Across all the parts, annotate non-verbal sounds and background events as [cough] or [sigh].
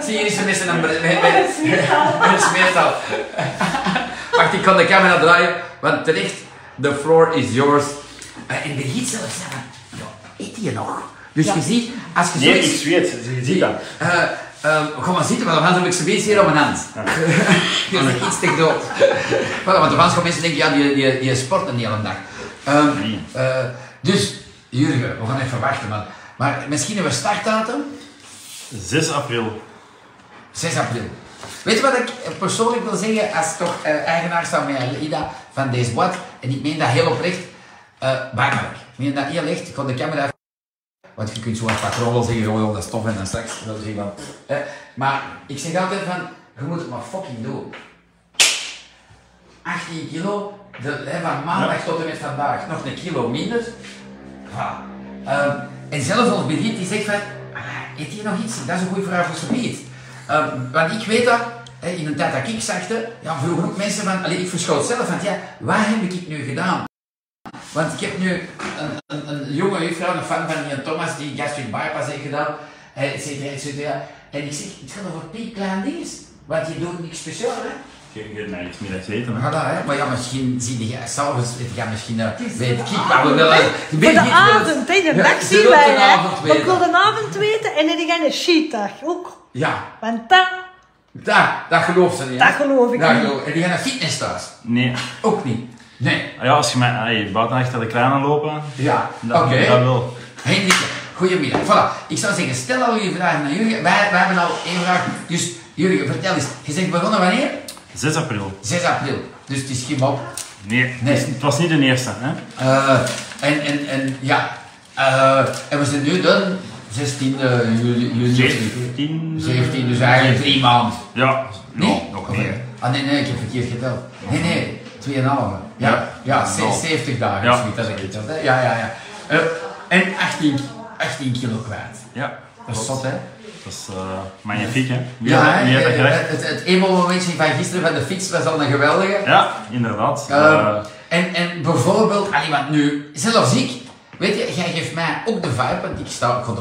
Syrische mensen en met, met, met, [laughs] met smeertaal. Wacht, ik kan de camera draaien, want terecht, the floor is yours. Eh, En de giet zelf zeggen, ja, eet je nog? Dus je ziet, als je Nee, zoiets... ik zweet. Je ziet dat. Eh, ehm, Ga maar zitten, want anders heb ik ze weer hier op mijn hand. [laughs] Je zegt iets tegen dood. Voilà, want anders gaan mensen denken, ja, die, die, die sporten die hele dag. Ehm, eh, dus, Jurgen, we gaan even wachten. Maar, maar misschien hebben we startdatum? 6 april. 6 april. Weet je wat ik persoonlijk wil zeggen als toch eh, eigenaar van mijn Ida van deze boot? En ik meen dat heel oprecht. eh Barmelijk. Ik meen dat heel echt. Ik ga de camera even... Want je kunt zo wat patronen zeggen, gewoon dat is tof en dan straks wil je van... eh, maar ik zeg altijd van, je moet het maar fucking doen. 18 kilo, de, hè, van maandag tot en met vandaag nog een kilo minder. Voilà. Ehm, en zelfs ons Birgit die zegt van, "Ah, eet hier nog iets? Dat is een goede vraag voor Sobiet. want ik weet dat, hè, in een tijd dat ik zakte, ja, vroegen ook mensen van, allee, ik verschoot zelf, want ja, wat heb ik nu gedaan? Want ik heb nu een, een, een jonge juffrouw, een fan van Ian Thomas, die gastric bypass heeft gedaan, eh, et cetera, et cetera. En ik zeg, het gaat over piepklein dingen, want je doet niks speciaal, hè. Je kunt mij iets middags eten. hè. Ja, dat, hè. Maar ja, misschien zie je s'avonds, ja, misschien eh, is weet de ik, maar we willen... Voor Weet de ik wel. avond, hè, de Ja, dag ze zien wil wij. de hè. avond Ik wil weten. een avond weten en dan gaan een sheetdag ook. Ja, Want dat, dat, dat gelooft ze niet. hè. Dat geloof ik niet. geloof- En die gaan naar fitness thuis. Nee. Ook niet. Nee. Ah Ja, als je mij allee, buiten achter de kranen lopen, Ja, dan oké. dat wel. Hendrik, goedemiddag. Voilà. Ik zou zeggen, stel al uw vragen naar Jurgen. Wij, wij hebben al één vraag. Dus Jurgen, vertel eens. Je zegt begonnen wanneer? 6 april. 6 april. Dus het is geen mop. Nee, Nee. het is- het was niet de eerste. Hè? Eh, en, en, en ja. Eh, en we zijn nu dan 16 juli. juli 17. 17, dus eigenlijk drie maanden. Ja, Nee? nog- nog Of- meer. Ah nee, nee, ik heb verkeerd geteld. Nee, nee, 2,5. Ja, Ja. ja, ze- Ja. 70 dagen. Ja. Ja, niet, dat ik het had, hè. Ja, ja, ja. Eh, en 18, 18 kilo kwijt. Ja, Dat is zot, hè? dat is eh, magnifiek. Hè? Wie Ja, had, hè, wie had dat eh, gedacht? het, het emo-momentje van gisteren van de fiets was al een geweldige. Ja, inderdaad. Eh, Eh, en, en bijvoorbeeld, allee, want nu, zelfs ik, weet je, jij geeft mij ook de vibe, want ik sta, god,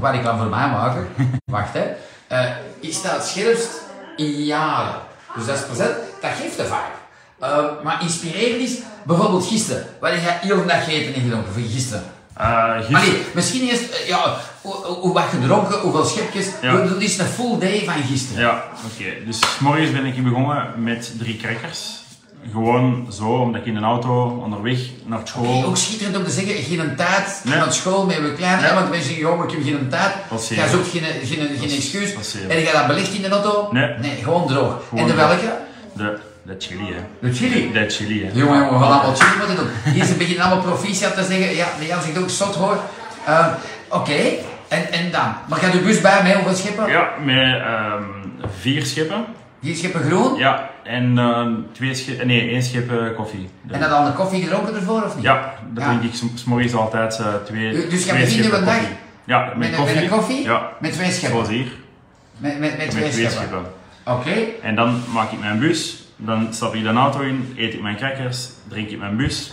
wat ik kan voor mij maken, wacht hè, Eh, ik sta het scherpst in jaren. Dus dat is present, dat geeft de vibe. Eh, maar inspirerend is, bijvoorbeeld gisteren, wat heb jij heel de dag gegeten en gedronken voor gisteren? eh, gisteren- Allee, misschien eerst, eh, ja, hoe, hoe, hoe wat gedronken, hoeveel schepjes, Ja. hoe- dat is een full day van gisteren. Ja, oké. Dus 's morgens ben ik begonnen met drie crackers. Gewoon zo, omdat ik in een auto onderweg naar Hey, school. ook schitterend om te zeggen, geen tijd, Nee. want school ben we klein, hè, Nee. want mensen zeggen, joh, maar ik heb geen tijd. Passeren. Dat is ook geen, geen, geen excuus. passeren. En je gaat dat belicht in de auto? Nee. gewoon droog. Gewoon en de droog. welke? De, de chili, hè? De chili. De chili, hè? Jongen, jongen, we gaan allemaal chili moeten doen. Hier ze beginnen allemaal proficiat te zeggen, ja, de Jan zegt ook zot hoor. Eh, Oké, en, en dan? Maar gaat de bus bij mij hoeveel scheppen? Ja, met ehm, vier scheppen. Vier scheppen groen? Ja, en ehm, twee sche- nee, één schip eh, koffie. De- En dan al een koffie gedronken ervoor of niet? ja, dat Ja. drink ik s- s morgens altijd eh, twee. Dus je twee begint scheppen uw dag koffie. Ja, met, Met, een- koffie. met een koffie? Ja, Met twee scheppen? zoals hier. Met, met, met twee, Met twee scheppen. scheppen. Oké. En dan maak ik mijn bus, dan stap ik de auto in, eet ik mijn crackers, drink ik mijn bus.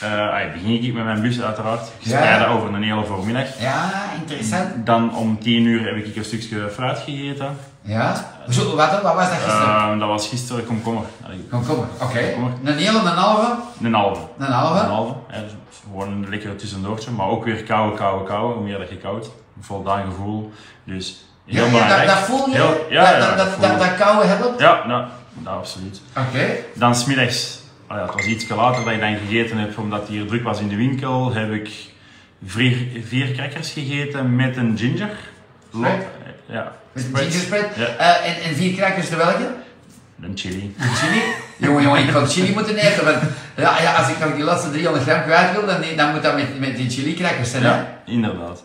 Eh, ah, begin ik met mijn bus uiteraard, gespreid Ja. over een hele voormiddag. Ja, interessant. Dan om 10 uur heb ik een stukje fruit gegeten. Ja? Zo, wat, wat was dat gisteren? Eh, dat was gisteren komkommer. Allee, Kom, kom. Oké. Kom. Een hele, een halve, Een halve. een Een halve. halve. hè, dus gewoon een lekker tussendoortje, maar ook weer koude, koude, koude. Hoe meer dat je koud, een voldaan gevoel. Dus Ja, heel ja, dat, belangrijk. dat voel je? Heel- ja, ja, dat, dat, dat, dat voel dat, ik. dat koude helpt? Ja, nou, dat absoluut. Oké. Dan smiddags, ah ja, het was iets later dat ik dan gegeten heb, omdat het hier druk was in de winkel, heb ik vier, vier crackers gegeten met een ginger. Lo- Spread? Ja. Met een spread. gingerspread. Ja, Eh, en, en vier crackers de welke? een chili. Een chili? jongen, jongen, ik had chili moeten eten. Want ja, ja, als ik nog die laatste 300 gram kwijt wil, dan, dan moet dat met, met die chili crackers zijn. hè? Ja, inderdaad.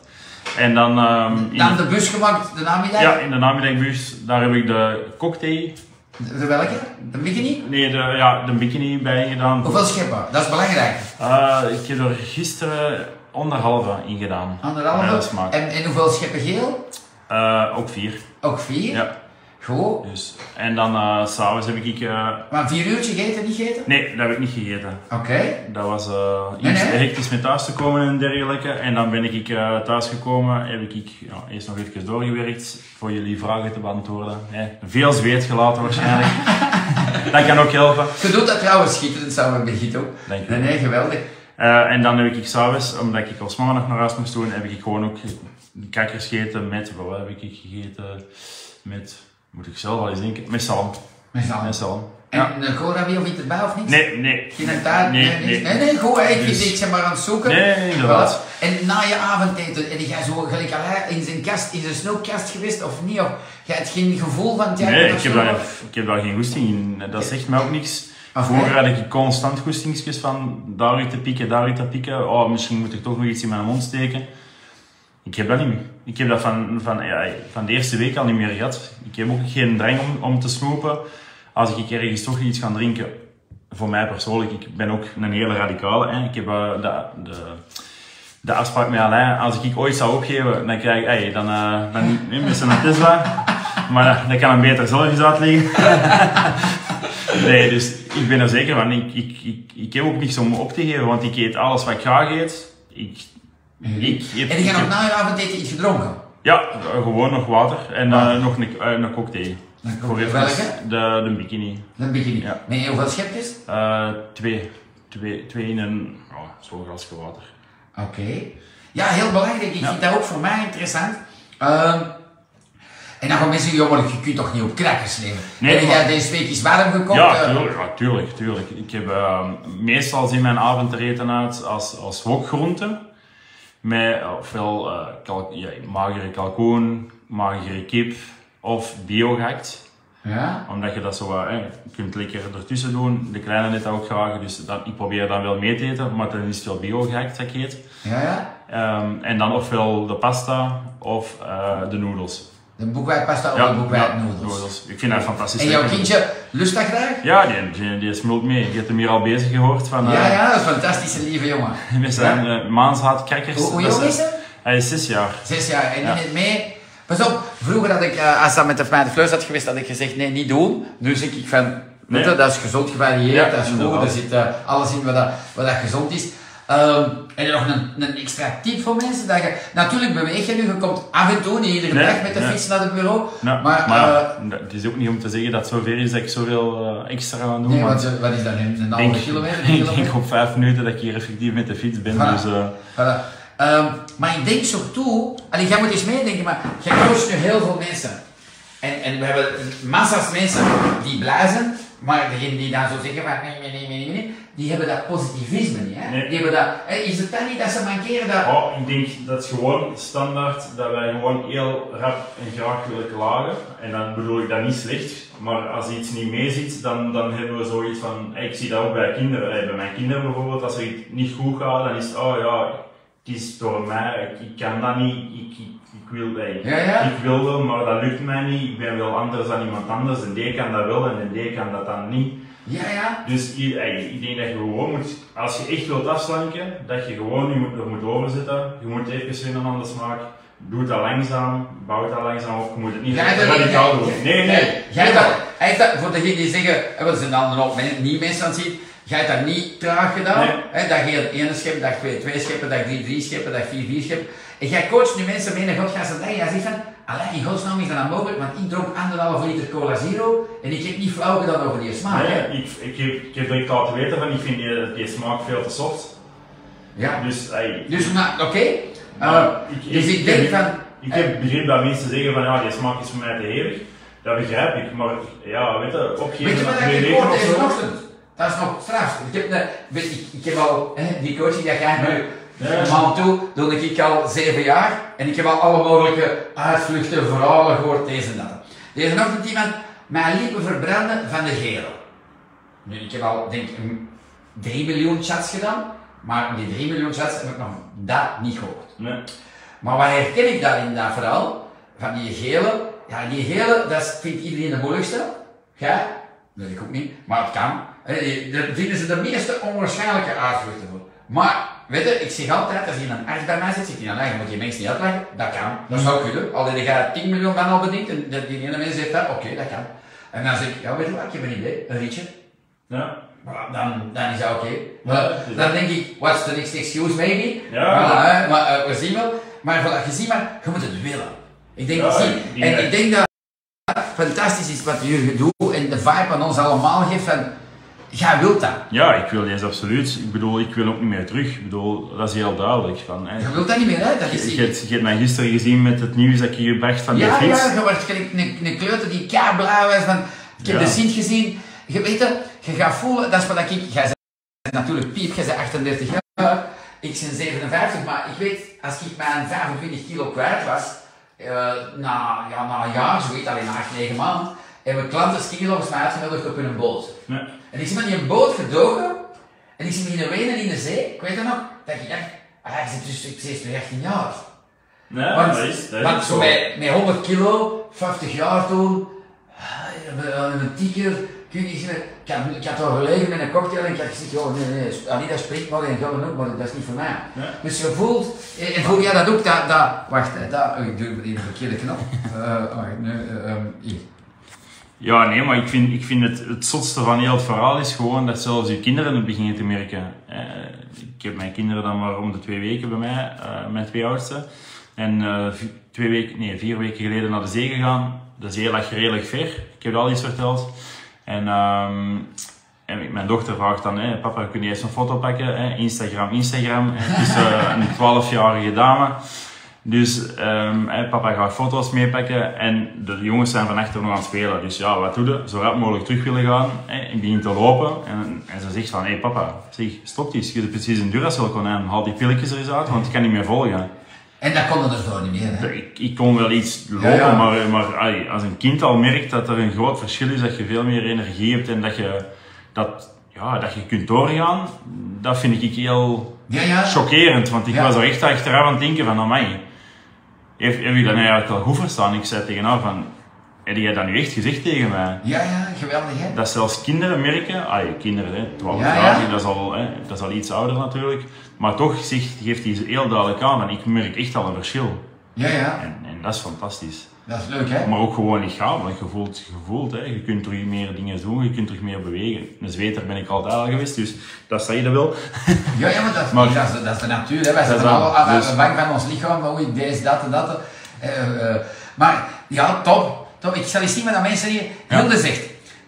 En dan... ehm, in Dan de, de bus gemaakt de namiddag. ja, in de namiddagbus, daar heb ik de cocktail, De, de welke? De bikini? nee, de, ja, de bikini bij gedaan. Hoeveel scheppen? Dat is belangrijk. Ah, ik heb er gisteren onderhalve in gedaan. Anderhalve. Ja, dat smaakt. en, en hoeveel scheppen geel? Eh, ook vier. Ook vier. Ja. Goed. Dus, en dan eh, s s'avonds heb ik... eh, Maar een vier uurtje gegeten, niet gegeten? nee, dat heb ik niet gegeten. Oké. Dat was eh iets Nee, nee. hectisch met thuis te komen en dergelijke. En dan ben ik eh thuis gekomen, heb ik ja, eerst nog even doorgewerkt voor jullie vragen te beantwoorden. Hè, veel zweet gelaten waarschijnlijk. [laughs] dat kan ook helpen. Je doet dat trouwens schitterend samen met Gito. Dank je. Nee, nee, geweldig. Eh, en dan heb ik s'avonds, omdat ik als maandag naar huis moest doen, heb ik gewoon ook kakkers gegeten met, wat heb ik gegeten met, moet ik zelf al eens denken, met zalm. Met z'n allen. Met zalm. Ja. En een cola weer of iets erbij of niks? Nee, nee. Geen taart? Nee, niks? nee. nee. nee, goed. hè. Ik, Dus- vind, ik ben maar aan het zoeken. Nee, nee, inderdaad. Voilà. En na je avondeten, en jij zo gelijk al hij in zijn kast, in zijn snoepkast geweest of niet? Of jij hebt geen gevoel van... jij Nee, moet ik heb, nog daar, snoepen? ik heb daar geen goesting in. Dat zegt mij ook niks. Oké. Vroeger had ik constant goestingsjes van daaruit te pikken, daaruit te pikken. Oh, misschien moet ik toch nog iets in mijn mond steken. Ik heb dat niet meer. Ik heb dat van, van, ja, van de eerste week al niet meer gehad. Ik heb ook geen drang om, om te snoepen. Als ik ergens toch iets ga drinken, voor mij persoonlijk, ik ben ook een hele radicale. Hè. Ik heb eh, de, de, de afspraak met Alain, als ik ooit zou opgeven, dan krijg ik, hey, dan, eh dan nee, met zijn Tesla. Maar dat kan hem beter zelf eens uitleggen. [laughs] nee, dus ik ben er zeker van. Ik, ik, ik, ik heb ook niks om op te geven, want ik eet alles wat ik graag eet. Ik, ik eet... En ik jij heb- nog na je avondeten iets gedronken? ja, eh, gewoon nog water en eh, nog een, eh, een cocktail. Ah. Een Voor cocktail. even de, de bikini. Dan begin ik. Ja. Nee, hoeveel schepjes? Eh, twee. twee. Twee in een... Oh, zo'n glasje water. Oké. Ja, heel belangrijk. Ik Ja. vind dat ook voor mij interessant. Ehm, en dan gaan mensen zeggen, "Jongen, je kunt toch niet op crackers leven? Nee, en maar- jij deze week is warm gekocht? eh, Ja, tuurlijk, ja, tuurlijk, tuurlijk. Ik heb eh, meestal zien mijn avondeten uit als, als wokgroente. Met eh, ofwel eh, kalk- ja, magere kalkoen, magere kip of biogehakt. ja. Omdat je dat zo wat, hè, je kunt lekker ertussen doen. De kleine net ook graag, dus dan, ik probeer dan wel mee te eten. Maar dan is het wel biogehakt dat ik eet. Ja, ja. Ehm, en dan ofwel de pasta of eh, de noedels. De boekwijdpasta of Oh, de boekwijdnoedels. Ik vind dat fantastisch. En jouw lekker. kindje lust dat graag? Ja, die, die, die smult mee. Je hebt hem hier al bezig gehoord van... eh, Ja, ja, dat is een fantastische lieve [laughs] jongen. Met zijn eh, maanshaat crackers. Hoe, hoe Dat jong is is- ze? Hij is zes jaar. Zes jaar. En Ja. die neemt mee. Pas op, vroeger had ik, eh, als dat met de Fijne Fleurs had geweest, had ik gezegd, nee, niet doen. Nu zeg ik van, weet je, Nee. dat is gezond gevarieerd, Ja, dat is goed, inderdaad. er zit eh, alles in wat, dat, wat dat gezond is. Ehm, en nog een, een extra tip voor mensen, dat je, natuurlijk beweeg je nu, je komt af en toe, niet iedere Nee, dag met de nee. fiets naar het bureau, Nou, maar... eh, ja, het is ook niet om te zeggen dat het zover is dat ik zoveel eh, extra aan doe. Nee, maar want, eh, wat is dat nu? Een ik halve kilometer? Een [laughs] ik kilometer? denk op vijf minuten dat ik hier effectief met de fiets ben. Voilà. Dus, eh, Voilà. Ehm, maar ik denk zo toe, allee, jij moet eens meedenken, maar jij coacht nu heel veel mensen. En, en we hebben massa's mensen die blazen, maar degenen die dan zo zeggen van nee, nee, nee, nee, nee, nee, die hebben dat positivisme niet. Hè? Nee. Die hebben dat, hè, is het dan niet dat ze mankeren dat... Oh, ik denk dat is gewoon standaard dat wij gewoon heel rap en graag willen klagen. En dan bedoel ik dat niet slecht, maar als iets niet meezit, dan, dan hebben we zoiets van. Ik zie dat ook bij kinderen. Hey, Bij mijn kinderen bijvoorbeeld, als er iets niet goed gaat, dan is het, oh ja, het is door mij, ik, ik kan dat niet, ik, ik, ik wil dat. Ja, ja. Ik wil wel, maar dat lukt mij niet. Ik ben wel anders dan iemand anders. En die kan dat wel en die kan dat dan niet. Ja, ja. Dus i- ey, ik denk dat je gewoon moet, als je echt wilt afslanken, dat je gewoon je moet, er moet overzetten. Je moet even winnen aan de smaak. Doe dat langzaam, bouw dat langzaam op. Je moet het niet Jij dat niet, radicaal jij- doen. Nee, nee. Jij- Jij dat, hij heeft dat, voor degenen die zeggen, eh, wat zijn dan nog men- niet mensen aan het zien, jij hebt dat niet traag gedaan. Nee. Hè, dag één, één schep, dag twee, twee scheppen, dag drie, drie scheppen, dag vier, vier scheppen. En jij coacht nu mensen mee naar Godgaans en jij zegt van, allee, in godsnaam is dat dan mogelijk, want ik dronk anderhalve liter cola zero en ik heb niet flauw gedaan over die smaak. hè. Nee, Ah, ik, ik, heb, ik heb direct laten weten van ik vind die, die smaak veel te soft. Ja. Dus, ey, Dus, maar, oké. Maar Eh, ik- dus ik- ik denk ik- van, eh, ik heb begrip dat mensen zeggen van ja, die smaak is voor mij te hevig. Dat begrijp ik, maar ja, weet je, opgeven Weet je wat twee ik weken gehoord of deze zo. ochtend? Dat is nog straf. Ik heb, de, weet, ik, ik heb al hè, die coaching dat jij nu Nee. normaal toe, doe ik al zeven jaar. En ik heb al alle mogelijke uitvluchten, verhalen gehoord, deze en dat. Deze ochtend iemand mijn lippen verbranden van de geel. Nu, ik heb al, denk ik, een 3 miljoen chats gedaan. Maar die 3 miljoen chats heb ik nog dat niet gehoord. Nee. Maar wat herken ik daarin, dat verhaal? Van die gele. Ja, die gele, dat is- vindt iedereen de moeilijkste. Ja? Dat eh, weet ik ook niet, maar het kan. Hè, die- Daar vinden ze de meeste onwaarschijnlijke uitvluchten voor. Maar weet je, ik zeg altijd, als hier een arts bij mij zit, zit hij dan, je moet je mensen niet uitleggen. Dat kan, dat zou kunnen. Alleen gaat 10 miljoen van al bedenkt en dat die ene mens zegt dat, oké, dat kan. En dan zeg ik, ja, weet je wat, ik heb een idee, een rietje. Ja. Voilà, Dan, dan is dat oké. Maar Dan denk ik, what's the next excuse maybe? Ja. Voilà, hè, maar eh, we zien wel. Maar voilà, je ziet maar, je moet het willen. Ik denk, Ja, zie, die- en ik denk dat het fantastisch is wat jullie doen en de vibe aan ons allemaal geeft van, jij wilt dat. Ja, ik wil deze absoluut. Ik bedoel, ik wil ook niet meer terug. Ik bedoel, dat is heel duidelijk. Van, hè. Je wilt dat niet meer, hè? Dat is Je, die- je, hebt, je hebt mij gisteren gezien met het nieuws dat ik hier bracht van die Ja, fiets. ja, je wordt gelijk een, een kleuter die kaarblauw is van, ik heb Ja. de Sint gezien. Je weet het, je gaat voelen, dat is wat ik, jij bent natuurlijk Piep, jij bent 38 jaar, ik ben 57, maar ik weet, als ik mijn 25 kilo kwijt was, eh, na, ja, na een jaar, zoiets, alleen na 8, 9 maanden, hebben klanten kilo's mij uitgenodigd op hun boot. Ja. En ik zie me in een boot gedoken, en ik zie me in de wenen in de zee, ik weet dat nog, dat ik dacht, ah, ik zit dus, ik zit nu 18 jaar. Ja, Want, dat is, dat want is zo zo. met, met 100 kilo, 50 jaar toen, eh, een tieker, kun je niet meer. Ik had, ik had al gelegen met een cocktail en ik had gezegd, joh, nee, nee, allee, dat springt maar en gaan ook, maar dat is niet voor mij. Ja. Dus je voelt, en, en voel jij dat ook, dat, dat wacht, hè, dat, oh, ik duw in de verkeerde [laughs] knop. Eh, wacht, nee, eh, ehm, hier. Ja, nee, maar ik vind, ik vind het, het zotste van heel het verhaal is gewoon dat zelfs je kinderen het beginnen te merken. Eh, ik heb mijn kinderen dan maar om de twee weken bij mij, eh, mijn twee oudste. En eh, vi- twee weken, nee, vier weken geleden naar de zee gegaan. Dat is heel erg redelijk ver. Ik heb het al eens verteld. En, ehm, en mijn dochter vraagt dan, hè, papa, kun je eens een foto pakken? Hè? Instagram, Instagram. Het is eh, een 12-jarige dame. Dus ehm, hè, papa gaat foto's meepakken en de jongens zijn van achter nog aan het spelen. Dus ja, wat doe je? Zo rap mogelijk terug willen gaan. Hè? Ik begin te lopen en, en ze zegt van, hé hey, papa, zeg, stop die, je hebt precies een Duracell konijn. Haal die pilletjes er eens uit, want ik kan niet meer volgen. En dat kon er dus door niet meer. Hè. Ik, ik kon wel iets lopen, Ja, ja. maar, maar ai, als een kind al merkt dat er een groot verschil is, dat je veel meer energie hebt en dat je, dat, ja, dat je kunt doorgaan, dat vind ik heel Ja, ja. chockerend, want ik Ja. was er echt achteraf aan het denken van, amai, heb, heb je dat nou eigenlijk wel goed verstaan? Ik zei tegen haar van, heb jij dat nu echt gezegd tegen mij? Ja, ja, geweldig hè. Dat zelfs kinderen merken, ah je kinderen, hè, 12 Ja, jaar, ja. Dat, is al, hè, dat is al iets ouder natuurlijk, maar toch zegt, geeft hij heel duidelijk aan van, ik merk echt al een verschil. Ja, ja, En, en dat is fantastisch. dat is leuk hè. Maar ook gewoon lichamelijk, je voelt, je voelt, hè. je kunt terug meer dingen doen, je kunt terug meer bewegen. Een zweter ben ik altijd al geweest, dus dat zei je wel. Ja, ja, maar dat, is- Maar- dat, is, dat is de natuur. Hè. Wij Dat is zitten allemaal wel, aan aan dus- de bank van ons lichaam, van oei, deze, dat en dat. Eh, eh, maar ja, top, top. Ik zal eens zien wat dat mensen hier. Hilde zegt,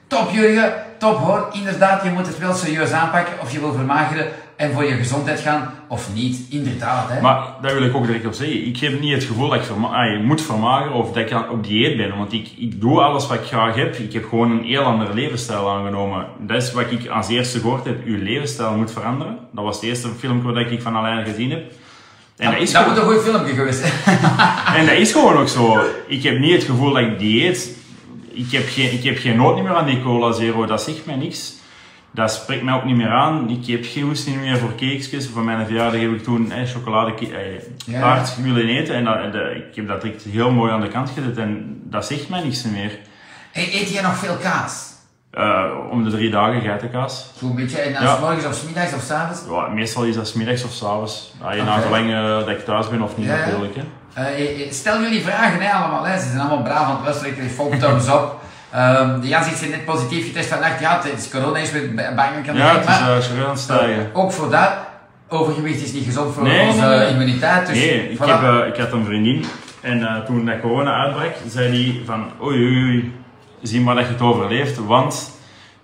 top Jurgen, top hoor. Inderdaad, je moet het wel serieus aanpakken of je wil vermageren en voor je gezondheid gaan of niet. Inderdaad, hè. Maar daar wil ik ook direct op zeggen. Ik heb niet het gevoel dat ik verma- ah, je moet vermageren of dat ik aan- op dieet ben. Want ik, ik doe alles wat ik graag heb. Ik heb gewoon een heel andere levensstijl aangenomen. Dat is wat ik als eerste gehoord heb. Uw levensstijl moet veranderen. Dat was het eerste filmpje dat ik van Alain gezien heb. En dat, is dat gewoon, moet een goed filmpje geweest zijn. en dat is gewoon ook zo. Ik heb niet het gevoel dat ik dieet. Ik heb geen, ik heb geen nood meer aan die cola zero. Dat zegt mij niks. Dat spreekt mij ook niet meer aan. Ik heb geen hoesting meer voor cakesjes. Voor mijn verjaardag heb ik toen eh, chocolade eh, Ja. taart willen eten. En dat, en dat- ik heb dat direct heel mooi aan de kant gezet. En dat zegt mij niks meer. Hey, eet jij nog veel kaas? Eh, om de drie dagen geitenkaas. Zo'n beetje, en dan Ja. s morgens of s middags of s avonds. Ja, meestal is dat 's middags of s'avonds. Ja, je Oké. Na gelang eh, dat ik thuis ben of niet Ja, ja. natuurlijk. Hè. Eh, eh, eh, stel jullie vragen hè, allemaal, hè. ze zijn allemaal braaf aan het luisteren, ik kreeg vol thumbs up. Ehm, de Jan ziet ze net positief getest vannacht, ja tijdens corona is weer ba- bang, ik kan Ja, niet, het is maar- eh zwaar aan het stijgen. Ook voor dat, overgewicht is niet gezond voor Nee, onze nee, nee. immuniteit, dus Nee, ik, voilà. heb, eh, ik had een vriendin en eh, toen dat corona uitbrak, zei die van oei oei oei, zie maar dat je het overleeft, want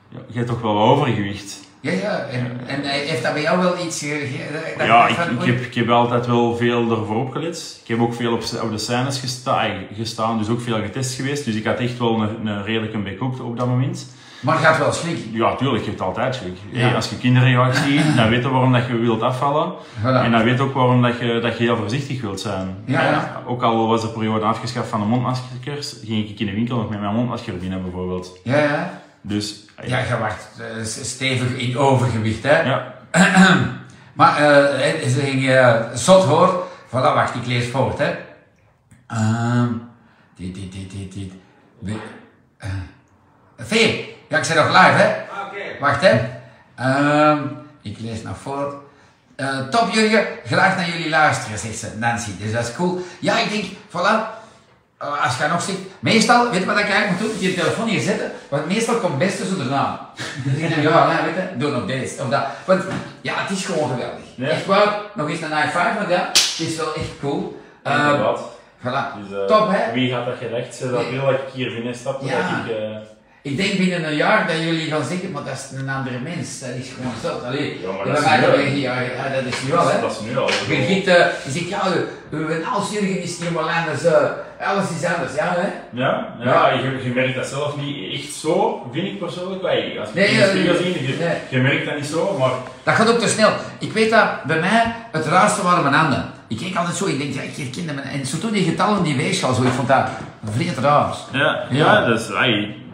ja, je hebt toch wel wat overgewicht. Ja, ja, en, en eh, heeft dat bij jou wel iets... eh, ge- dat je ja, dacht ik, van, ik, oei, heb, ik heb altijd wel veel ervoor opgelet. Ik heb ook veel op, s- op de scènes gesta eh, gestaan, dus ook veel getest geweest. Dus ik had echt wel een, een redelijke bek op, op dat moment. Maar het gaat wel schrikken. Ja, tuurlijk, je hebt altijd schrik. Ja. Hey, als je kinderen gaat zien, dan weet je waarom dat je wilt afvallen. Voilà. En dan weet je ook waarom dat je, dat je heel voorzichtig wilt zijn. Ja, Eh, ja. Ook al was de periode afgeschaft van de mondmaskers, ging ik in de winkel nog met mijn mondmasker binnen bijvoorbeeld. Ja, ja. Dus, eh, Ja, je wacht eh, stevig in overgewicht, hè. ja. Maar eh, eh, ze ging eh, zot hoor. Voilà, wacht, ik lees voort, hè. Ehm dit, dit, dit, dit, dit. We- eh, Vee, ja, ik zit nog live, hè. Ah, Oké. Wacht, hè. Ehm ik lees nog voort. Eh, top jullie, graag naar jullie luisteren, zegt ze, Nancy. Dus dat is cool. Ja, ik denk, voilà. Eh, als je nog zegt, meestal, weet je wat ik eigenlijk moet doen? Je telefoon hier zetten, want meestal komt best tussen de naam. Dus ik denk, ja, nee, weet je, doe nog deze. Of dat. Want ja, het is gewoon geweldig. Ja. Echt waar, nog eens een high five, maar ja, het is wel echt cool. Eh, Inderdaad. voilà, Dus, eh, top hè? Wie gaat dat gerecht? Ze dat wil dat ik hier binnenstap, stap, Ja. dat ik... eh, Ik denk binnen een jaar dat jullie gaan zeggen, maar dat is een andere mens. Dat is gewoon zo. Allee, Ja, maar bij dat is mij nu al. ben je- ja, ja, dat is nu wel, hè? dat is nu al. Birgit, eh, die zegt, ja, uw uw naalsjurgen nou, is niet wel anders. eh, alles is anders, ja, hè? Ja, ja je, je merkt dat zelf niet echt zo, vind ik persoonlijk. Wij, als je Nee, in de spiegel nee, ziet, je, nee. je merkt dat niet zo, maar Dat gaat ook te snel. Ik weet dat, bij mij, het raarste waren mijn handen. Ik keek altijd zo, ik denk, ja, ik herkende mijn... En zo toen die getallen, die weegschaal, zo, ik vond dat vreemd raar. Ja, ja. Ja. dus, ai,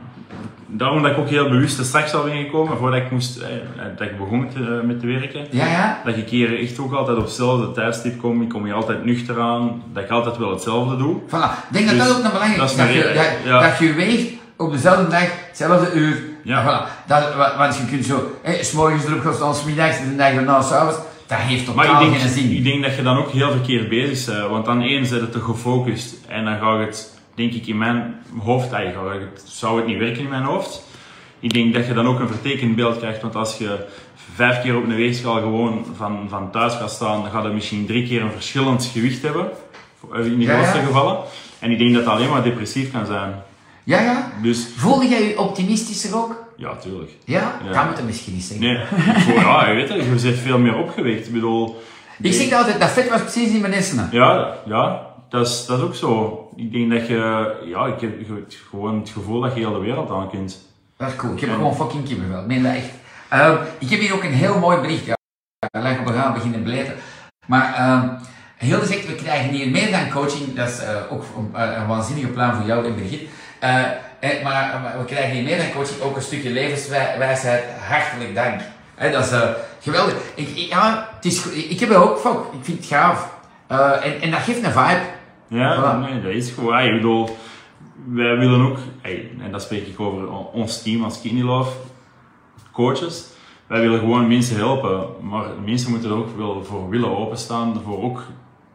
daarom dat ik ook heel bewust er straks al ben gekomen, voordat ik, moest, eh, dat ik begon met, eh, met te werken. Ja, ja? Dat ik hier echt ook altijd op hetzelfde tijdstip kom, ik kom hier altijd nuchter aan, dat ik altijd wel hetzelfde doe. Voilà. Ik denk dat Dus, dat ook nog belangrijk dat is. is Dat, maar je, eerlijk, dat, ja. dat je weegt op dezelfde dag, hetzelfde uur. Ja. En Voilà. Dat, wa- want je kunt zo, hè, s morgens erop gaan staan, s middags en de dag erna, s'avonds. Dat heeft Maar totaal ik denk, geen zin. ik denk dat je dan ook heel verkeerd bezig bent, want dan één zit het te gefocust en dan gaat het, denk ik, in mijn hoofd eigenlijk, gaat het- zou het niet werken in mijn hoofd. Ik denk dat je dan ook een vertekend beeld krijgt, want als je vijf keer op een weegschaal gewoon van, van thuis gaat staan, dan gaat het misschien drie keer een verschillend gewicht hebben, eh, in de Ja, grootste ja. gevallen. En ik denk dat dat alleen maar depressief kan zijn. Ja, ja. Dus, Voelde jij je optimistischer ook? ja, tuurlijk. Ja? Ja. Dat moet je misschien niet zeggen. Nee, [laughs] voor, ja, je weet het, je bent veel meer opgewekt. Ik bedoel... Ik zeg altijd, dat vet was precies in mijn hersenen. Ja, ja dat, is, dat is ook zo. Ik denk dat je, ja, ik heb ge- gewoon het gevoel dat je heel de wereld aan kunt. Dat is cool. Ik heb gewoon fucking kippenvel. Ik meen dat echt. Ehm, ik heb hier ook een heel mooi bericht. Ja, laat ik op een gaan beginnen blijven. Maar ehm heel zegt, we krijgen hier meer dan coaching. Dat is eh, ook een, eh, een waanzinnige plan voor jou en Birgit. Eh, eh, maar eh, we krijgen hier meer dan coaching. Ook een stukje levenswijsheid. Hartelijk dank. Hè, dat is eh, geweldig. Ik, ik- ja, het is, go- ik heb er ook van. Ik vind het gaaf. Eh, en, en dat geeft een vibe. Ja, Voilà. nee, dat is gewoon. ey, Ik bedoel, wij willen ook, ey, en dat spreek ik over o- ons team als Kidney Love, coaches. Wij willen gewoon mensen helpen, maar mensen moeten er ook wel voor willen openstaan, voor ook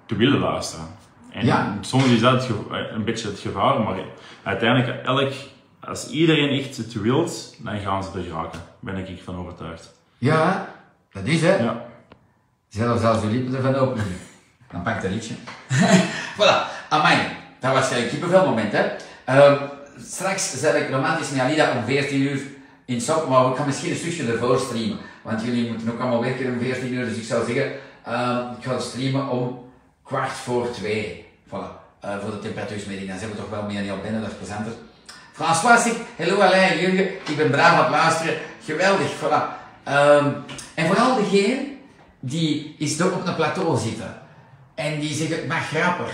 te willen luisteren. En Ja. soms is dat het geva- een beetje het gevaar, maar uiteindelijk, elk, als iedereen echt het wilt, dan gaan ze er geraken. Daar ben ik van overtuigd. Ja, dat is hè. Ja. Zelfs als je lippen ervan open [laughs] doen. Dan pak dat liedje. [laughs] voilà, amai. Dat was een kippenvelmoment, hè. Ehm, straks zet ik romantisch met Alida om 14 uur in Sok, maar ik kan misschien een stukje ervoor streamen. Want jullie moeten ook allemaal werken om 14 uur, dus ik zou zeggen, ehm, ik ga streamen om kwart voor twee. Voilà, Eh, voor de temperatuursmeting. Dan zijn we toch wel meer al binnen, dat is plezanter. François zegt, hello Alain, Jurgen, ik ben braaf aan het luisteren. Geweldig, voilà. Ehm, en vooral degene die is door op een plateau zitten. En die zeggen, maar grappig.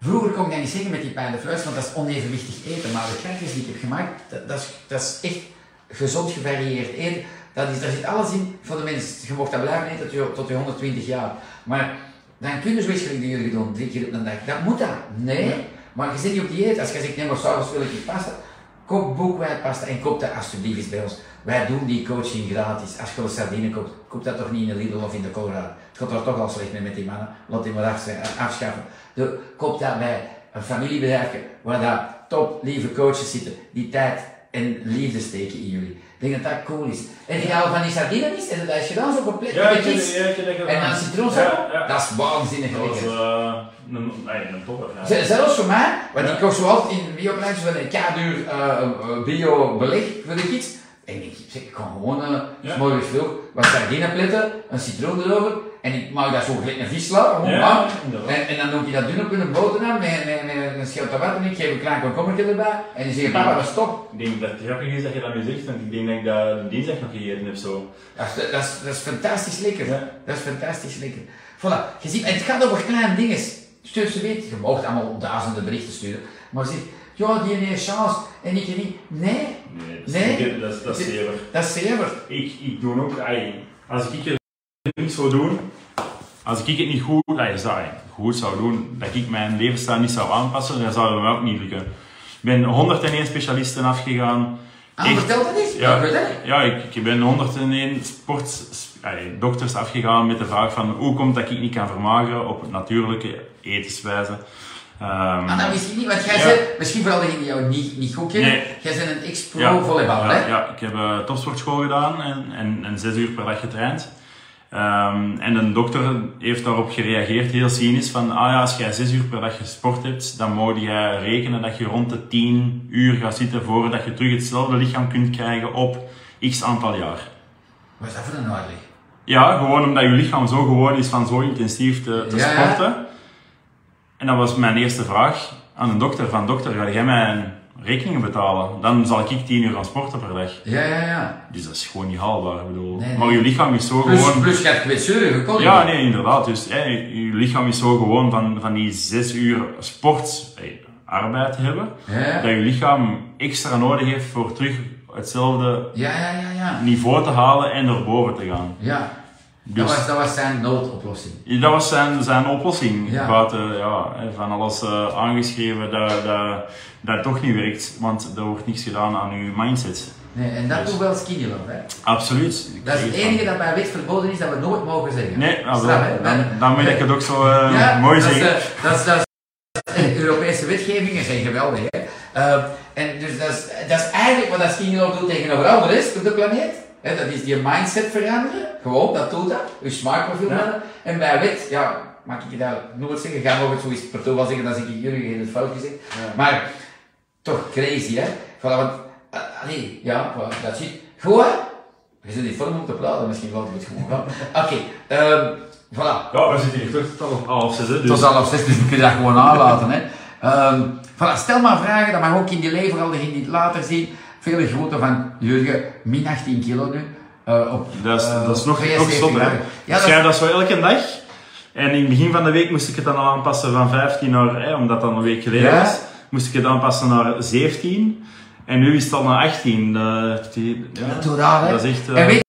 Vroeger kon ik dat niet zeggen met die pijnlijke fluis, want dat is onevenwichtig eten. Maar de krankjes die ik heb gemaakt, dat, dat, is, dat is echt gezond gevarieerd eten. Dat is, daar zit alles in van de mens. Je mocht dat blijven eten tot je, tot je 120 jaar. Maar dan kun je zoiets gelijk die jullie doen, drie keer op een dag. Dat moet dat. Nee. Maar je zit niet op dieet. Als je zegt, nee maar s'avonds wil ik niet pasta. Koop boekwijdpasta en koop dat alsjeblieft eens bij ons. Wij doen die coaching gratis. Als je een sardine koopt, koop dat toch niet in de Lidl of in de Colorado. Het gaat er toch al slecht mee met die mannen. Laat die maar af- afschaffen. Dus koop dat bij een familiebedrijf waar daar top lieve coaches zitten die tijd en liefde steken in jullie. Ik denk dat dat cool is. En die halen van die sardine is en dat is gedaan zo compleet met iets. En dan citroensap, dat is waanzinnig Dat was lekker. eh, een, nee, een topper. ja. Z- Zelfs voor mij, want Ja. ik koop zo altijd in de bioprijs van een kaduur eh, bio-beleg voor de iets. En ik zeg, ik kan gewoon eh Ja. s morgens vroeg wat sardinepletten, een citroen erover. En ik maak dat zo gelijk een visla, gewoon Ja, bam. inderdaad. En, en dan doe ik dat dun op een boterham met, met, met een schelte wat en ik geef een klein komkommertje erbij. En die zeggen, papa, dat is top. Ik denk dat het grappig is dat je dat nu zegt, want ik denk dat ik dat dinsdag nog gegeten heb zo. Dat is, dat is, dat is fantastisch lekker. Ja. Dat is fantastisch lekker. Voilà, je ziet, en het gaat over kleine dingen. Stuur ze weet, je mag allemaal duizenden berichten sturen. Maar zeg, ja, die heeft een chance en ik niet. Nee, Nee, dat is, Nee? niet- dat is, dat is Dit- zeker. dat is zeker. Ik, ik doe ook, ai, als ik er niks voor doen, als ik het niet goed, ai, zou, goed zou doen, dat ik mijn levensstijl niet zou aanpassen, dan zou het mij ook niet lukken. Ik ben 101 specialisten afgegaan, Ah, Echt? vertel dat eens. Ja. Ik weet dat niet. ja ik, ik ben 101 sports, allee, dokters afgegaan met de vraag van hoe komt dat ik niet kan vermageren op natuurlijke etenswijze. Ehm, Ah, dat wist ik niet, want jij Ja. bent, misschien vooral degenen die jou niet, niet goed kennen, Nee. jij bent een ex-pro volleyballer, ja, hè? ja, ik heb eh, topsportschool gedaan en, en, en zes uur per dag getraind. Ehm, en een dokter heeft daarop gereageerd, heel cynisch, van ah ja, als jij zes uur per dag gesport hebt, dan moet jij rekenen dat je rond de tien uur gaat zitten voordat je terug hetzelfde lichaam kunt krijgen op x aantal jaar. Wat is dat voor een uitleg? Ja, gewoon omdat je lichaam zo gewoon is van zo intensief te, te Ja, ja. sporten. En dat was mijn eerste vraag aan de dokter, van dokter, ga jij mijn rekeningen betalen? Dan zal ik 10 uur gaan sporten per dag. Ja, ja, ja. Dus dat is gewoon niet haalbaar. Ik bedoel. Nee, nee. Maar je lichaam is zo Plus, gewoon. plus je hebt kwetsuren gekocht. Ja, nee, inderdaad. Dus hè, je lichaam is zo gewoon van, van die zes uur sport, hè, arbeid hebben, Ja. dat je lichaam extra nodig heeft voor terug hetzelfde Ja, ja, ja, ja. niveau te halen en erboven te gaan. Ja. Dat, Dus- was, dat was zijn noodoplossing. Dat was zijn, zijn oplossing. Ja. Buiten ja, hè, van alles eh, aangeschreven dat, dat dat toch niet werkt, want er wordt niks gedaan aan je mindset. Nee, en Dus- dat doet wel Skinnyland, hè. Absoluut. Dat is het enige dat bij wet verboden is dat we nooit mogen zeggen. Nee, nou, Snap, hè? dan, dan, dan moet ik het ook zo eh, Ja, mooi dat is, zeggen. eh, dat is, dat is, eh, Europese wetgevingen zijn geweldig, hè. Eh, en dus dat is, dat is eigenlijk wat dat Skinnyland doet tegenover al de rest op de planeet. Hè, dat is die mindset veranderen. Gewoon, dat doet dat. Je smaakprofiel Ja. veranderen. En bij wet, ja, mag ik je dat nooit zeggen. Ga mogen het zoiets per toon wel zeggen, dan zeg ik jullie in het fout gezegd. Maar toch crazy, hè? Voilà, want, eh, allee, ja, voilà, dat zit. Goed, hè? Je zit in vorm om te praten, misschien laten we het gewoon gaan. Oké, ehm voilà. Ja, we zitten hier terug tot op half zes, hè, dus... Tot half zes, dus we kunnen dat gewoon aanlaten, hè? Ehm, voilà, stel maar vragen, dat mag ook in die lever, al degenen die het later zien. Vele grote van Jurgen, min 18 kilo nu. eh, op, Dat is, eh, dat is nog, nog 72 zot, hè. jaar. Ja, ik dat is- schrijf dat zo elke dag. En in het begin van de week moest ik het dan al aanpassen van 15 naar, hè, omdat dat een week geleden Ja. was, moest ik het aanpassen naar 17. En nu is het al naar 18. Dat, die- ja, Dat doe raar, hè? dat is echt... eh, En weet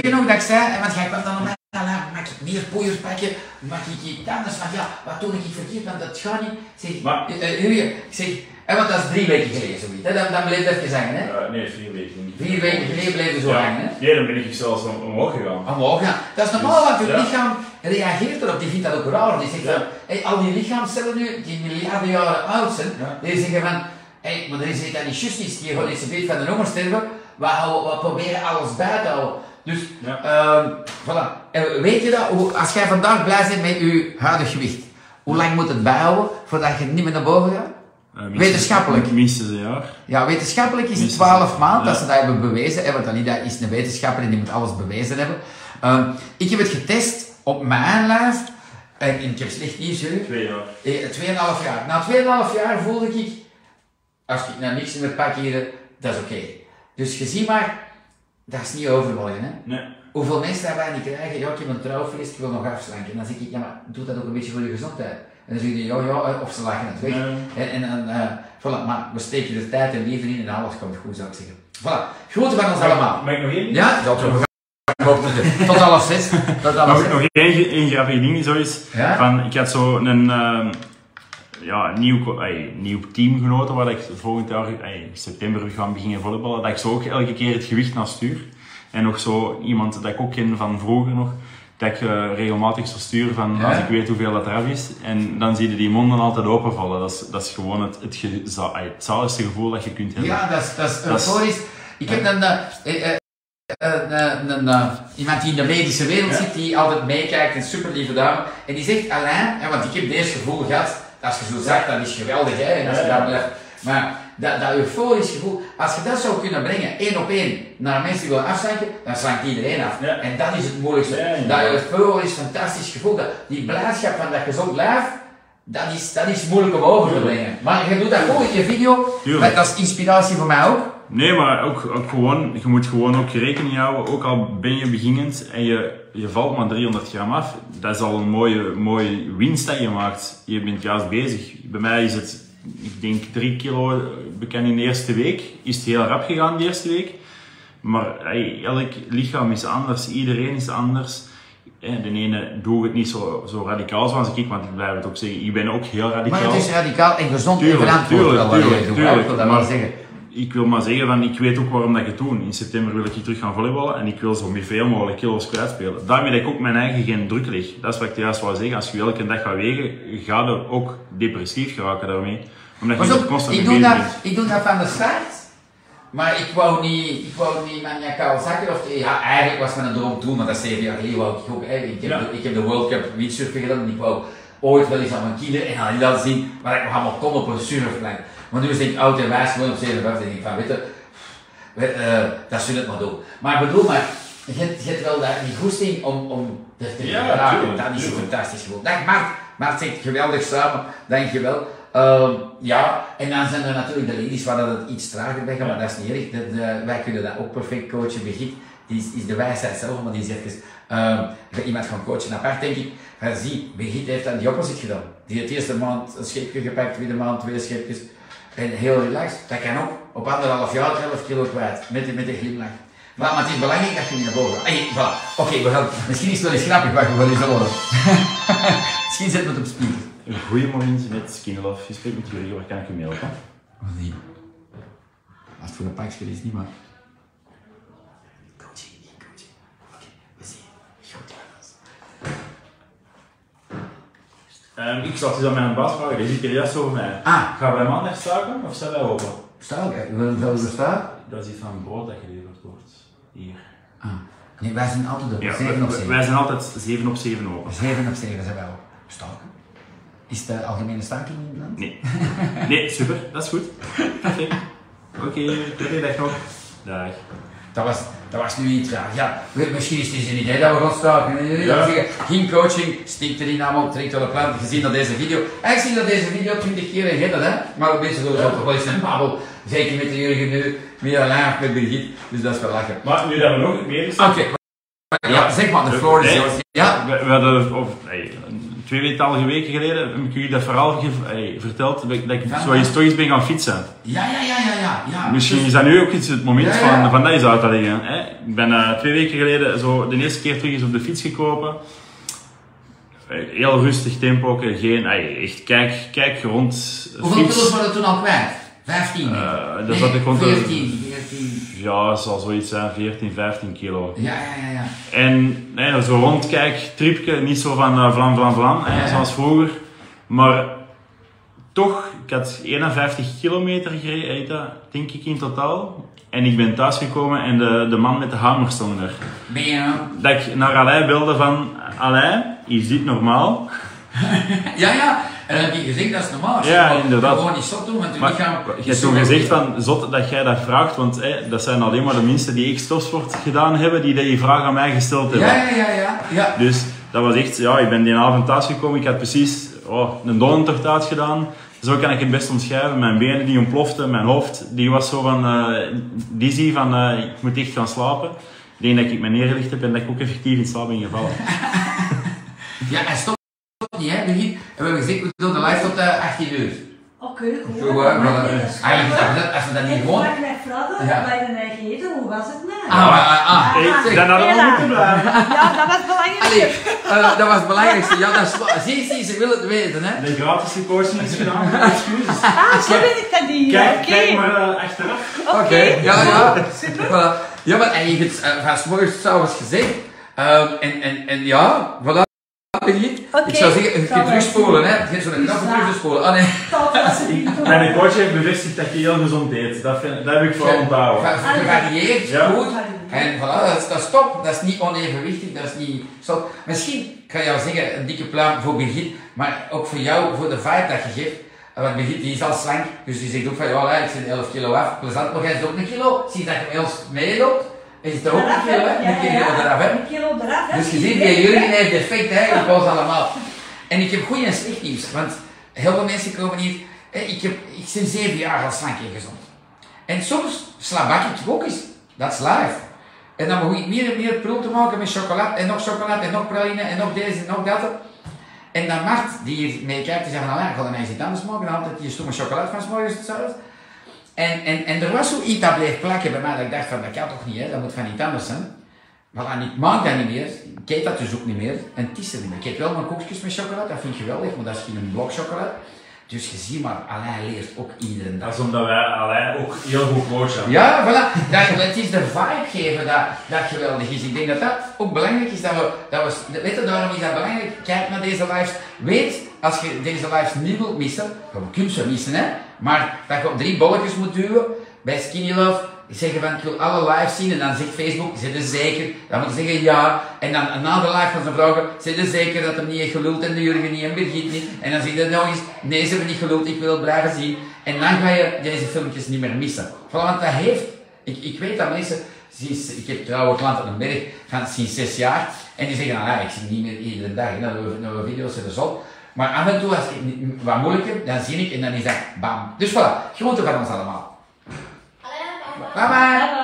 je nog dat ik zei, en want jij kwam dan op mij, "Ala, mag ik meer poeiers pakken, mag ik iets anders, maar ja, wat doe ik verkeerd, want dat gaat niet. Ik Zeg, Maar- eh, eh, Jurgen, ik zeg, en want dat is drie weken geleden zoiets, hè, dan, dan bleef dat even hangen, hè. eh, nee, vier weken. Vier weken geleden bleef je zo Ja. hangen, hè. Nee, dan ben ik zelfs om- omhoog gegaan. Omhoog, ja. Dat is normaal, Dus, want je ja. lichaam reageert erop, die vindt dat ook raar, die zegt Ja. van, hey, al die lichaamcellen nu, die miljarden jaren oud zijn, Ja. die zeggen van, hey, maar er is iets dat niet juist is, die gaat niet zo beet van de honger sterven, we, houden- we proberen alles bij te houden. Dus Ja. Ehm, voilà. En weet je dat, hoe- als jij vandaag blij bent met je huidig gewicht, hoe lang moet het bijhouden voordat je niet meer naar boven gaat? Eh, minstens- Wetenschappelijk. Minstens een jaar. Ja, wetenschappelijk is het Minstens, 12 maanden dat ja. ze dat hebben bewezen. Hè, want Alida is een wetenschapper en die moet alles bewezen hebben. Ehm, ik heb het getest op mijn lijf. En, en ik heb slecht nieuws, jullie. Twee jaar. Eh, 2,5 jaar. Na 2,5 jaar voelde ik, als ik nou niks meer pak hier, dat is oké. Dus je ziet maar, dat is niet overmorgen. Hè? Nee. Hoeveel mensen dat wij niet krijgen, ja, ik heb een trouwfeest, ik wil nog afslanken. En dan zeg ik, ja, maar doe dat ook een beetje voor je gezondheid. En dan zeg je, ja, ja, eh, of ze lachen het weg. Nee. En, en, dan, eh, voilà, maar we steken er tijd en liefde in en alles komt goed, zou ik zeggen. Voilà, groeten van ons allemaal. Mag ik nog één? Ja, dat we gaan. Tot half zes. Tot half Nog, zes. nog één, één grappig ding, zo is. Ja? Van, ik had zo een ehm, ja, een nieuw, co- ey, nieuw teamgenoten waar ik volgend jaar ey, in september ga beginnen volleyballen. Dat ik zo ook elke keer het gewicht naar stuur. En nog zo iemand dat ik ook ken van vroeger nog. Dat ik eh, regelmatig zo stuur van Ja? als ik weet hoeveel dat eraf is. En dan zie je die monden altijd openvallen. Dat is, dat is gewoon het, het, ge- za- ey, het zaligste gevoel dat je kunt hebben. Ja, dat is, dat is Dat is- euforisch. Ik heb een, eh, eh, eh, een, een, een, iemand die in de medische wereld Ja. zit, die altijd meekijkt, een super lieve dame. En die zegt, Alain, hè, want ik heb deze gevoel gehad, als je zo zegt, dat is geweldig, hè, en als je Ja, ja. daar blijft. Maar dat, dat euforisch gevoel, als je dat zou kunnen brengen, één op één, naar mensen die willen afzanken, dan zankt iedereen af. Ja. En dat is het moeilijkste. Ja, ja. Dat euforisch, fantastisch gevoel, dat, die blijdschap van dat gezond lijf, dat is, dat is moeilijk om over te brengen. Maar je doet dat goed in je video, Tuurlijk. dat is inspiratie voor mij ook. Nee, maar ook, ook gewoon, je moet gewoon ook rekening houden, ook al ben je beginnend en je, je valt maar 300 gram af, dat is al een mooie, mooie winst dat je maakt. Je bent juist bezig. Bij mij is het, ik denk 3 kilo eh, bekend in de eerste week, is het heel rap gegaan de eerste week. Maar hey, elk lichaam is anders, iedereen is anders. Eh, De ene doet het niet zo, zo radicaal zoals ik, want ik blijf het ook zeggen, ik ben ook heel radicaal. Maar het is radicaal en gezond Tuurlijk, en verantwoord wel tuurlijk, wat je tuurlijk, doet, hè. tuurlijk. ik wil dat wel Maar- zeggen. ik wil maar zeggen van, ik weet ook waarom dat ik het doe. In september wil ik terug gaan volleyballen en ik wil zo met veel mogelijk kilo's kwijtspelen. Daarmee dat ik ook mijn eigen geen druk leg. Dat is wat ik juist wou zeggen. Als je elke dag gaat wegen, ga je ook depressief geraken daarmee. Omdat je Pas niet op, constant ik mee doe, bezig dat, bent. ik doe dat van de start. Maar ik wou niet, ik wou niet maniacaal zakken. Of, ja, eigenlijk was mijn droom toen, maar dat is zeven jaar geleden. Wou ik, ook, hè, ik, heb Ja. de, ik heb de World Cup windsurfen gedaan. En ik wou ooit wel eens aan mijn kinderen en aan hen laten zien wat ik nog allemaal kon op een surfplank. Maar nu is ik oud en wijs, gewoon op 57. denk ik van, weet je, we, eh, dat zullen we het maar doen. Maar ik bedoel maar, je hebt, je hebt wel daar die goesting om, om er te Ja, geraken. tuurlijk, Dat is zo tuurlijk. fantastisch gewoon. Dag Mart, Mart zit geweldig samen, dankjewel. Ehm ja, en dan zijn er natuurlijk de ladies waar dat het iets trager bij gaat, maar dat is niet erg. Dat, eh, wij kunnen dat ook perfect coachen. Begit is, is de wijsheid zelf, maar die zegt dus, ehm, ik ga iemand gaan coachen apart, denk ik. Maar zie, Begit heeft aan die opposite gedaan. Die heeft eerste maand een scheepje gepakt, tweede maand twee scheepjes. En heel relaxed, dat kan ook. Op anderhalf jaar 11 kilo kwijt, met, de- met een glimlach. Maar, maar het is belangrijk dat je niet naar boven gaat. Hey, voilà. Oké, we gaan. Misschien is het wel eens grappig, maar we gaan eens horen. Misschien zet het op speed. Goedemorgen met Skinlove. Je spreekt met Jurgen, waar kan ik u mee helpen? Of niet? Als het voor een pakje is, niet maar. Coaching, niet coaching. Oké, we zien. Goed, jongens. Ehm, ik zal het dus aan mijn baas vragen, die zit hier juist over mij. Ah. Gaan wij maandag staken of zijn wij open? Staan we? Wil wil je staan? Dat is iets van brood dat geleverd wordt. Hier. Ah. Nee, wij zijn altijd op Ja, 7 op wij, 7. wij zijn altijd 7 op 7 open. 7 op 7 zijn wij ook. Staan. Is de algemene staking in het land? Nee. Nee, super, dat is goed. Perfect. Oké, prettige dag nog. Dag. Dat was, dat was nu iets raar. Ja, we- misschien is het een idee dat we gaan staken. Ja. Ja. Zeggen, geen coaching, stikt erin allemaal, trekt wel een plan. Gezien dat deze video. Eigenlijk zie dat deze video 20 keer en je hebt dat, hè? Maar mensen willen toch wel eens een babbel. Zeker met de Jurgen nu, met Alain of met Brigitte. Dus dat is wel lachen. Maar nu dat we nog meer Oké, ja, zeg maar, de floor is Nee. yours. Ja? Ah, We, we hadden of, nee, een tweetallige weken geleden heb ik jullie dat verhaal ge- hey, verteld dat ik, dat ik Ja. zoiets toch eens ben gaan fietsen. Ja, ja, ja, ja, ja. ja. dus- Misschien is dat nu ook iets het moment Ja, ja. van, van dat is uit te leggen. Hè? Ik ben eh, twee weken geleden zo de eerste keer terug eens op de fiets gekropen. Eh, Heel rustig tempo, eh, geen, eh, echt kijk, kijk rond. Hoeveel fiets. kilo's waren er toen al kwijt? 15? Eh, dat Nee, zat ik rond de- 14, 14. Ja, dat zal zoiets zijn, 14, 15 kilo. Ja, ja, ja, ja. En nee, zo rondkijk, tripje, niet zo van eh, vlam, vlam, vlam, hè, Ja. zoals vroeger. Maar toch, ik had 51 kilometer gereden, heet dat, denk ik in totaal. En ik ben thuisgekomen en de, de man met de hamer stond er. Ben je nou? Dat ik naar Alain belde van, Alain, is dit normaal? Ja, ja. En dan heb je gezegd, dat is normaal. Ja, Maar inderdaad. Gewoon niet zot doen, want je Maar lichaam... je hebt toen gezegd van, zot dat jij dat vraagt, want hè, dat zijn alleen maar de mensen die ik stofsport gedaan hebben, die die vraag aan mij gesteld hebben. Ja, ja, ja, ja. ja. Dus dat was echt, ja, ik ben die avond thuisgekomen. Ik had precies oh, een donnentocht uitgedaan. Zo kan ik het best omschrijven. Mijn benen die ontploften, mijn hoofd die was zo van eh, dizzy, van eh, ik moet echt gaan slapen. Ik denk dat ik me neergelegd heb en dat ik ook effectief in slaap ben gevallen. [laughs] Ja, en stop niet, hè, Brigitte. En we hebben gezegd, we doen de live tot eh, 18 uur. Oké, goed. Zo, eh, maar, eh, eigenlijk, dat we dat- als we dat niet Ik gewoon... vraag mij vragen, Ja. bij de eigen hoe was het nou? Ah, ah, ah. Hey, Zeg, dan hadden we Ella. moeten blijven. Ja, dat was belangrijk. allee, eh, dat was het belangrijkste. Ja, dat is... wa- Zie, zie, ze wil het weten, hè. De gratis coaching is [laughs] gedaan, excuses. Ah, zo weet ik dat niet. Kijk, Oké. kijk maar eh, achteraf. Oké. Ja, [laughs] ja. Voilà. Ja, maar en je hebt het eh, van 's morgens s'avonds gezegd. Ehm, en, en, en ja, voilà. Brigitte. Oké, Ik zou zeggen, je zal kunt wel. terugspoelen, hè. Je kunt zo'n knap Ja. terugspoelen. Ah, nee. Dat was het [laughs] niet. Mijn coach heeft bevestigd dat je heel gezond eet. Dat, vind- dat heb ik voor onthouden. Ge- Gevarieerd, Ja. goed. En voilà, dat is, dat is top. Dat is niet onevenwichtig, dat is niet... Stop. Misschien kan jou zeggen, een dikke pluim voor Birgit, maar ook voor jou, voor de vibe dat je geeft. Eh, Want Birgit die is al slank, dus die zegt ook van, ja, hè, ik zit 11 kilo af. Plezant, maar jij zit ook een kilo. Zie dat je bij ons meeloopt. Is het ook een Eraf, hè? kilo, hè? Een Ja, kilo ja, ja. eraf, hè? Een kilo eraf, hè? Dus je ziet, die jullie heeft defect eigenlijk bij ons allemaal. En ik heb goed en slecht nieuws, want heel veel mensen komen hier. hè, Ik, heb, ik ben zeven jaar al slank en gezond. En soms slabak ik toch ook eens. Dat is live. En dan begon ik meer en meer prul te maken met chocolade en nog chocolade en nog praline en nog deze en nog dat. En dan Mart, die hier mee kijkt, die zei van, "Allee, ik ga er nou eens iets anders maken. Dan altijd die stomme chocolade van 's morgens tot 's avonds. En, en, en er was zoiets dat bleef plakken bij mij, dat ik dacht van, dat kan toch niet, hè? dat moet van iets anders zijn. Maar dan, ik maak dat niet meer, ik eet dat dus ook niet meer, en het is er niet meer. Ik eet wel mijn koekjes met chocolade, dat vind ik geweldig, maar dat is geen blok chocolade. Dus je ziet maar, Alain leert ook iedere dag. Dat is omdat wij Alain ook heel goed coachen. Ja, voilà. Dat, het is de vibe geven dat, dat geweldig is. Ik denk dat dat ook belangrijk is. Dat we, dat we, weet je, daarom is dat belangrijk. Kijk naar deze lives. Weet, als je deze lives niet wilt missen, je kunt ze missen, hè. Maar dat je op drie bolletjes moet duwen, bij Skinny Love, zeggen van, ik wil alle lives zien. En dan zegt Facebook, zit er zeker? Dan moet je zeggen ja. En dan na de live van zijn vragen, zit er zeker dat hem niet heeft geluld en de Jurgen niet en Birgit niet. En dan zeg je nog eens, nee, ze hebben niet geluld, ik wil het blijven zien. En dan ga je deze filmpjes niet meer missen. Vooral want dat heeft, ik, ik weet dat mensen, sinds, ik heb trouwe klanten op een berg van sinds zes jaar, en die zeggen, ah, ik zie niet meer iedere dag, nou, we, nou, video's er op. Maar af en toe, als ik niet- wat moeilijker, dan zie ik en dan is dat bam. Dus voilà, groeten van ons allemaal. Bye bye.